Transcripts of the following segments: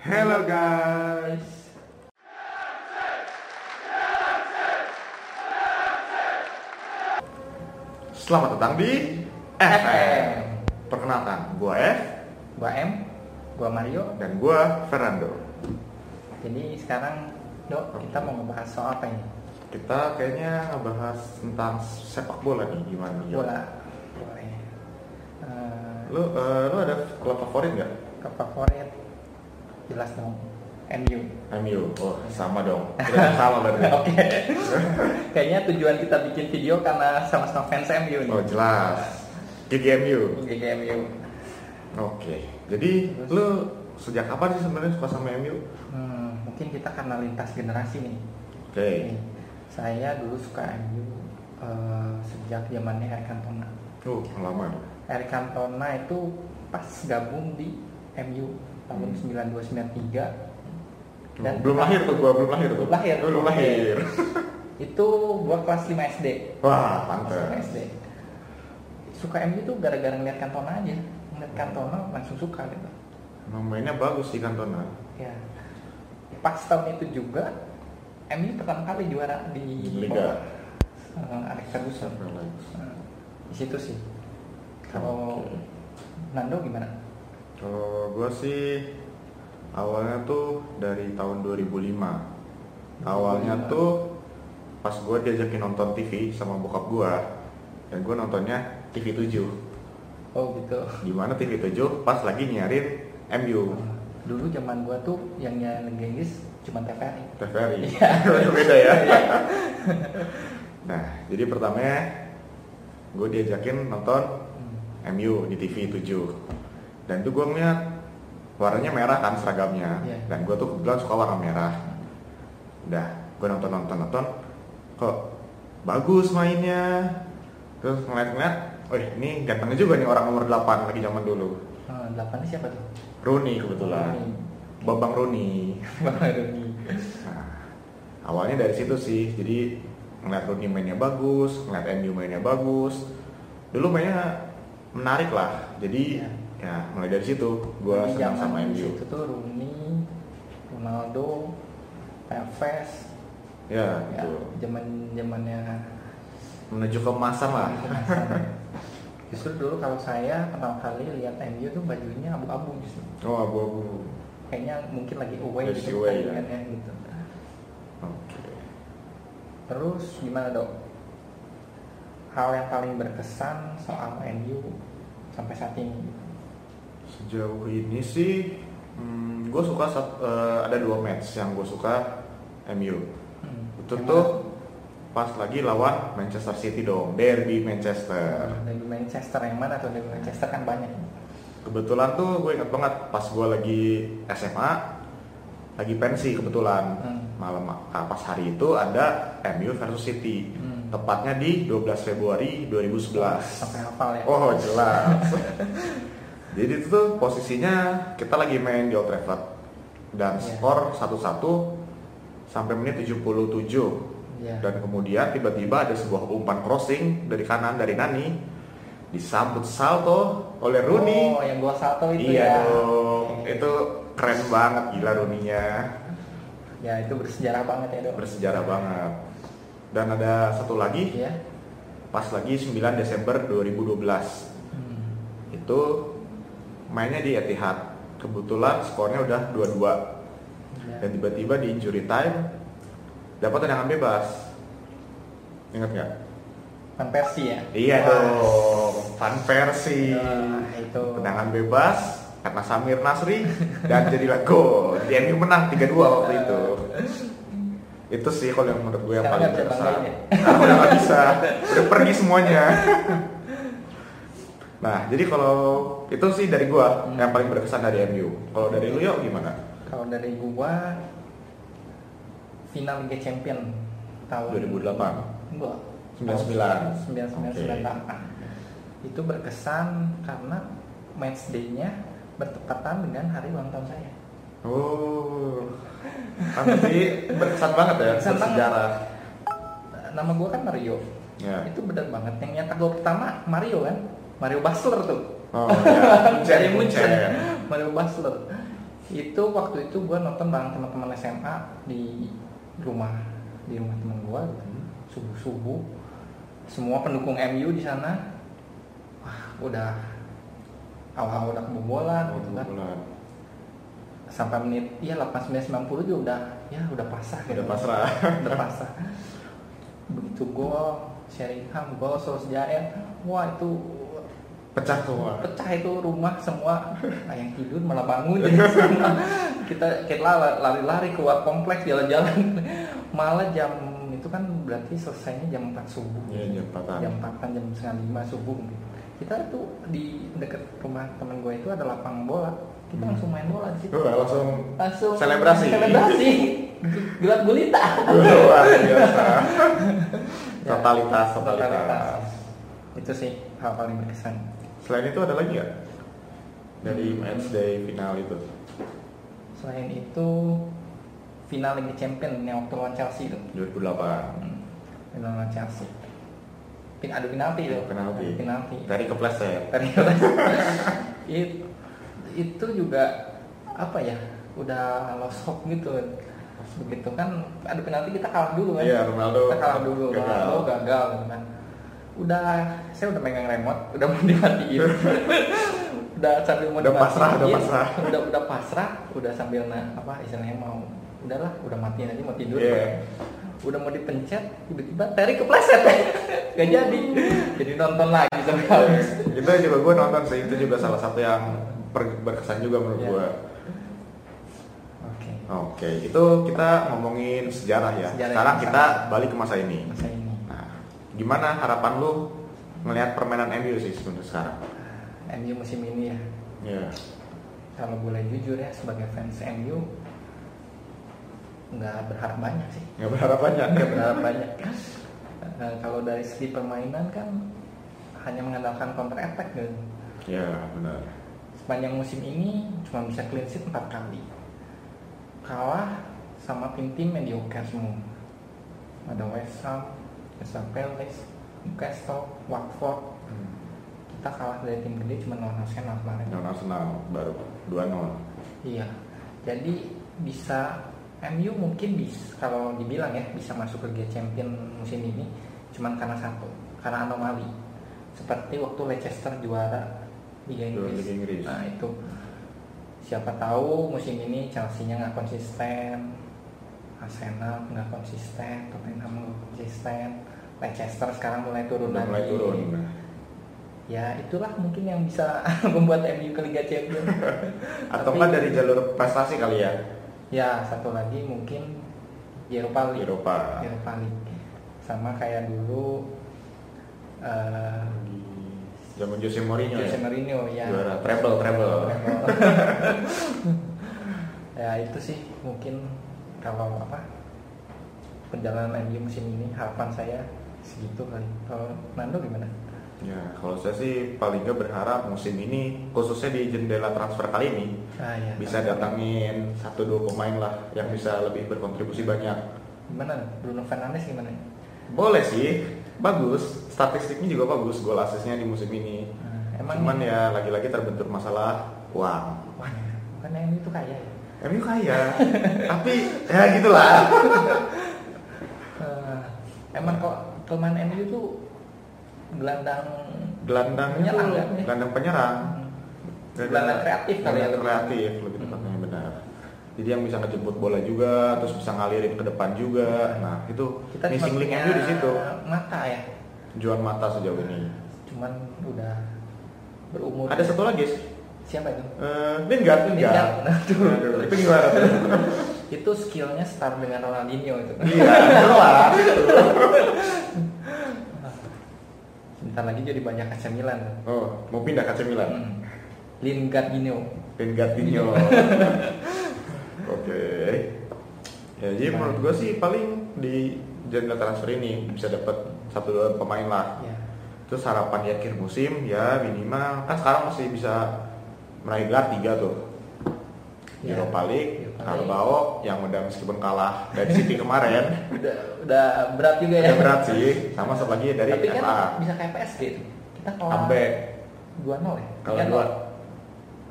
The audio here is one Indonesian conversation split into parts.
Hello guys. Selamat datang di FM. Perkenalkan, gua F Gua M, gua Mario. dan gua Fernando. Jadi sekarang Dok, kita mau ngebahas soal apa ini? Kita kayaknya ngebahas tentang sepak bola nih gimana nih? Bola. Boleh. Eh, Lu, eh, lu ada klub favorit nggak? ke favorit jelas dong. MU. MU. Oh, sama dong. Tidak salah berarti. Oke. Kayaknya tujuan kita bikin video karena sama-sama fans MU nih. Oh, jelas. Jadi MU. Jadi MU. Oke, jadi lu sejak kapan sih sebenarnya suka sama MU? Hmm, mungkin kita karena lintas generasi nih. Oke, Nih, Saya dulu suka MU eh, sejak zamannya Eric Cantona. tuh lama. ya? Eric Cantona itu pas gabung di MU tahun 9293 Dan- belum lahir tuh gua, belum lahir tuh. Belum lahir. Belum lahir. itu gua kelas 5 SD Wah, Kelas pantes. 5 SD suka MU tuh gara-gara ngeliat Cantona aja ngeliat Cantona langsung suka gitu Emang mainnya bagus sih Cantona. ya pas tahun itu juga MU pertama kali juara di Liga. bawah, eh, Alex Ferguson Relax. Nah, di situ sih kalau Oke. Nando gimana Kalau gua sih awalnya tuh dari tahun 2005. Awalnya 2005. tuh pas gua diajakin nonton TV sama bokap gua dan gua nontonnya TV 7. oh gitu Di mana TV 7 pas lagi nyiarin MU. dulu zaman gua tuh yang nyanyi Liga Inggris cuma TVRI TVRI beda ya nah jadi pertamanya gue diajakin nonton Hmm. MU di TV 7 dan itu gue ngeliat warnanya merah kan seragamnya Iya. dan gue tuh kebetulan suka warna merah udah gue nonton nonton nonton kok bagus mainnya terus ngeliat-ngeliat oh ini gantengnya juga nih orang nomor 8 lagi zaman dulu Eh, delapan siapa tuh? Rooney kebetulan Bambang Rooney Bang Rooney. Nah, awalnya dari situ sih, jadi ngeliat Rooney mainnya bagus, ngeliat MU mainnya bagus. Dulu mainnya menarik lah, jadi Iya. gitu. ya mulai dari situ gue Jadi senang zaman sama MU. Itu tuh Rooney, Ronaldo, Tevez, Ya, ya gitu. zaman zamannya Menuju kemasan lah. Justru dulu kalau saya pertama kali lihat MU tuh bajunya abu-abu justru. Oh, abu-abu. Kayaknya mungkin lagi away Just gitu away, ya. pertandingannya gitu. Oke. Terus gimana dok? Hal yang paling berkesan soal MU sampai saat ini? Sejauh ini sih, gue suka sat- eh, ada dua match yang gue suka MU. Hmm, Itu yang tuh pas lagi lawan Manchester City dong, derby Manchester. dari Manchester yang mana tuh dari Manchester kan banyak Kebetulan tuh gue inget banget pas gue lagi SMA, lagi pensi kebetulan Hmm. malam ah, pas hari itu ada MU versus City, Hmm. tepatnya di 12 Februari 2011. sampai hafal ya Oh jelas. Jadi itu tuh posisinya kita lagi main di Old Trafford dan Iya. skor 1-1 sampai menit 77 Iya. dan kemudian tiba-tiba ada sebuah umpan crossing dari kanan dari Nani disambut salto oleh Rooney. oh yang gua salto itu iya ya dong, Oke. itu keren banget gila Rooney-nya. ya itu bersejarah banget ya dok Bersejarah banget. Dan ada satu lagi Iya. pas lagi 9 Desember 2012. Hmm. Itu mainnya di Etihad. Kebetulan skornya udah 2-2 Iya. dan tiba-tiba di injury time dapat tendangan bebas. Ingat nggak? Van Persie ya Iya Wah. dong, fan versi. Wah, itu Tendangan bebas karena Samir Nasri dan jadilah gol. Di MU menang 3-2 waktu itu. Itu sih kalau yang menurut gue yang Sekarang paling nggak ya? bisa berkesan. banggain Nah, udah nggak bisa, udah pergi semuanya. Nah, jadi kalau itu sih dari gue Hmm. yang paling berkesan dari MU. Kalau dari lu yuk gimana? kalau dari gua final Liga Champion tahun 2008. Enggak. 99. 99 98. Itu berkesan karena match day-nya bertepatan dengan hari ulang tahun saya. Oh, tapi berkesan banget ya, Berkesan banget. bersejarah. Nama gua kan Mario. Ya. Itu benar banget. Yang nyetak gol pertama Mario kan. Mario Basler tuh. Oh, ya. Dari Muncen, Munchen. Muncen. Mario Basler. itu waktu itu gue nonton bareng teman-teman SMA di rumah di rumah teman gue Hmm. subuh subuh semua pendukung MU di sana wah udah awal-awal udah kebobolan gitu kan Oh, Bulan. sampai menit ya 89 90 juga udah ya udah pasrah Udah pasrah. udah pasrah begitu gol Sheringham gol Solskjaer wah itu Pecah semua. pecah itu rumah semua nah, yang tidur malah bangun jadi semua. kita kita lari-lari keluar kompleks jalan-jalan malah jam itu kan berarti selesainya jam 4 subuh Iya, jam empatan. jam 4 jam setengah lima subuh gitu. kita tuh di deket rumah temen gue itu ada lapangan bola kita Hmm. langsung main bola di situ Wah, langsung langsung Selebrasi. selebrasi gelap gulita luar biasa. Ya, Totalitas, totalitas. totalitas. itu sih hal paling berkesan Selain itu ada lagi nggak? Dari match day final itu. selain itu final Liga Champion yang waktu lawan Chelsea itu 2008. Hmm, final lawan Chelsea Pin adu penalti itu Iya, Penalti. Adu penalti Dari kepleset. Ternyata. It- itu juga apa ya udah lost hope gitu begitu kan ada penalti kita kalah dulu kan Iya, Ronaldo kita kalah dulu gagal. Ronaldo gagal gitu kan udah saya udah megang remote udah mau dimatiin udah sambil mau Udah dimatiin, Iya, pasrah, udah pasrah. udah udah pasrah udah sambil nah, apa istilahnya mau udahlah udah matiin aja mau tidur Iya. udah mau dipencet tiba-tiba Terry kepleset gak jadi jadi nonton lagi sampai habis Iya, itu juga gue nonton sih itu juga salah satu yang per- berkesan juga menurut Iya. gue. Oke, Oke, itu kita ngomongin sejarah ya. Sejarah Sekarang yang kita sama. balik ke masa ini. masa ini Nah, gimana harapan lu ngelihat permainan MU sih sebenarnya sekarang? MU musim ini ya. Iya. Kalau boleh jujur ya sebagai fans MU nggak berharap banyak sih. Nggak berharap banyak. Nggak berharap banyak. Eh, kalau dari segi permainan kan hanya mengandalkan counter attack dan Iya, benar. sepanjang musim ini cuma bisa clean sheet 4 kali. Kalah sama tim-tim mediocre semua. Ada West Ham, Crystal Palace, Newcastle, Watford. Hmm. Kita kalah dari tim gede cuma lawan Arsenal kemarin. Yang Arsenal baru 2-0. Iya. Jadi bisa MU mungkin bisa kalau dibilang ya bisa masuk ke Liga Champion musim ini cuman karena satu, karena anomali. Seperti waktu Leicester juara Liga Juara Inggris. Liga Inggris. Nah, itu siapa tahu musim ini Chelsea-nya nggak konsisten, Arsenal nggak konsisten, Tottenham nggak konsisten, Leicester sekarang mulai turun Udah lagi mulai turun. ya itulah mungkin yang bisa membuat MU ke Liga Champion Atau Tapi- kan dari jalur prestasi kali ya? ya satu lagi mungkin Europa League Eropa. Europa League sama kayak dulu eh Di zaman Jose Mourinho Jose ya. Mourinho ya Juara treble treble. ya itu sih mungkin kalau apa perjalanan MU musim ini harapan saya segitu kali kalau Nando gimana Ya, kalau saya sih paling nggak berharap musim ini khususnya di jendela transfer kali ini ah, ya. bisa datangin satu dua pemain lah yang bisa lebih berkontribusi banyak. gimana Bruno Fernandes gimana Boleh sih, bagus. Statistiknya juga bagus gol asisnya di musim ini. Ah, emang Cuman ya lagi-lagi terbentur masalah uang. Wah, kan MU itu kaya ya MU kaya, tapi ya gitulah. Eh, emang kok kelemahan MU itu gelandang Gelandangnya tuh, Penyerang kan ya? gelandang penyerang. gelandang kreatif kali ya Gelandang kreatif lebih tepatnya benar. Jadi yang bisa ngejemput bola juga, terus bisa ngalirin ke depan juga. Nah itu kita cuma missing link punya MU di situ. mata ya Juan Mata sejauh ini. cuman udah berumur Ada satu lagi, siapa itu eh Lingard, Lingard. Lingard. Aduh. Aduh, Itu gimana tuh? itu skillnya star dengan Ronaldinho itu Iya, bener lah. sebentar lagi jadi banyak AC Milan Oh, mau pindah ke AC Milan. Hmm. Lingardinho Lingardinho. Oke. Ya, jadi Nah. menurut gue sih paling di jendela transfer ini bisa dapat satu dua pemain lah. ya Terus harapan di akhir musim ya minimal kan sekarang masih bisa meraih gelar tiga tuh. Ya. Europa League, Europa League. Carabao yang udah meskipun kalah dari City kemarin udah udah berat juga ya udah berat sih sama satu lagi dari tapi kan Oh. FA bisa kayak PSG itu kita kalah sampai 2-0 ya kalau 3-0. dua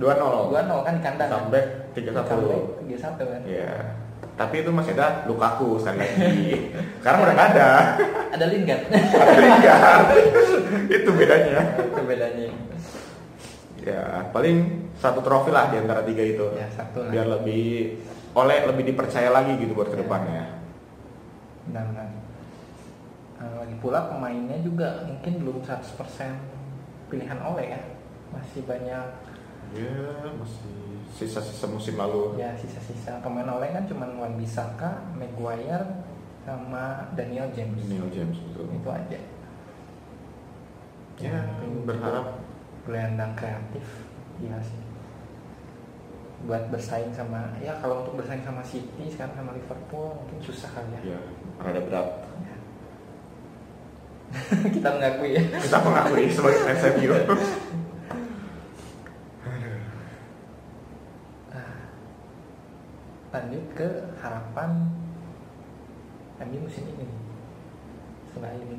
dua nol 2-0 kan di kandang kan? sampai tiga Iya, Beckham satu. back, tiga satu kan. Iya. Tapi itu masih ada Lukaku sekali lagi. Sekarang udah nggak ada. Ada kan? Lingard. Ada Lingard. itu bedanya. Itu bedanya. Ya, paling satu trofi lah di antara tiga itu. Ya, satu lah. Biar lebih oleh lebih dipercaya lagi gitu buat kedepannya. Benar-benar. Nah, lagi pula pemainnya juga mungkin belum 100% pilihan oleh ya. Masih banyak Ya, masih sisa-sisa musim lalu. ya sisa-sisa pemain oleh kan cuman Wan Bisaka, Maguire, sama Daniel James. Neil James betul. Itu aja. Ya, Tapi berharap gelandang kreatif ya sih buat bersaing sama ya kalau untuk bersaing sama City sekarang sama Liverpool mungkin susah kali ya, ya rada berat. kita mengakui ya Kita mengakui sebagai fans MU. lanjut Ah. ke harapan MU musim ini nih. selain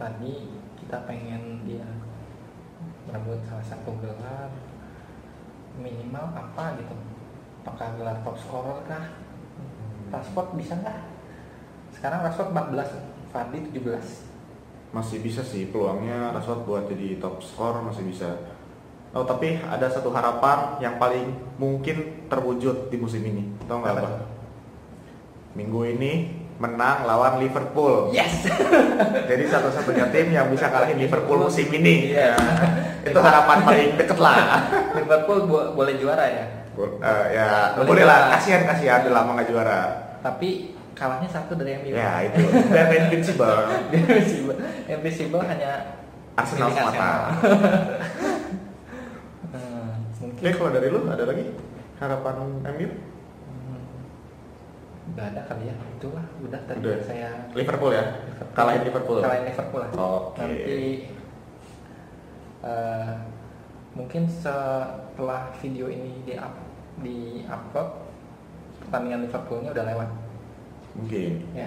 tadi kita pengen dia merebut salah satu gelar minimal apa gitu apakah gelar top scorer kah Rashford bisa nggak sekarang Rashford 14 Fardi 17 Masih bisa sih peluangnya Rashford buat jadi top skor masih bisa. Oh, tapi ada satu harapan yang paling mungkin terwujud di musim ini. Tahu nggak Apa apa? tuh? Minggu ini menang lawan Liverpool. yes Jadi satu-satunya tim yang Oh. bisa kalahin Liverpool musim ini. Iya. Itu harapan paling deket lah. Liverpool bo- boleh juara ya Eh, ya Boleh boleh lah. juara. Kasihan kasihan udah lama nggak juara. tapi kalahnya satu dari MU Ya itu. Dan invincible. Invisible, Invisible hanya Arsenal ini semata. Hmm, Oke, mungkin kalau dari lu ada lagi harapan MU? Hmm, nggak ada kali ya itulah udah tadi Eh. Udah. yang saya Liverpool ya. Kalahin Liverpool. kalahin Liverpool lah Oke. nanti eh, mungkin setelah video ini di up di upload pertandingan Liverpoolnya udah lewat Mungkin. ya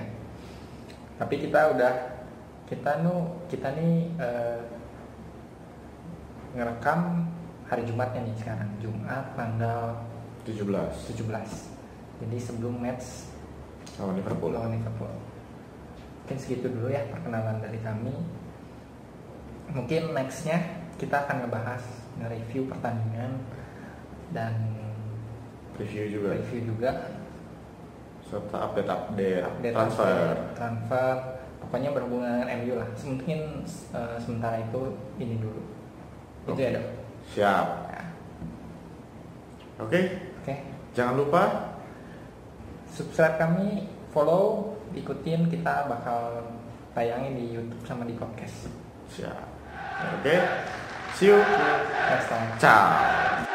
tapi kita udah kita nu kita nih eh, ngerekam hari Jumatnya nih sekarang Jumat tanggal 17 17 jadi sebelum match lawan Liverpool. lawan Liverpool Oh, mungkin segitu dulu ya perkenalan dari kami mungkin nextnya kita akan ngebahas nge-review pertandingan dan Preview juga review juga serta update-update Iya, update transfer. transfer pokoknya berhubungan dengan MU lah mungkin eh, sementara itu ini dulu itu ya dok Siap. Ya. Oke, oke jangan lupa subscribe kami follow ikutin kita bakal tayangin di YouTube sama di podcast siap. Oke. See you. next time Ciao.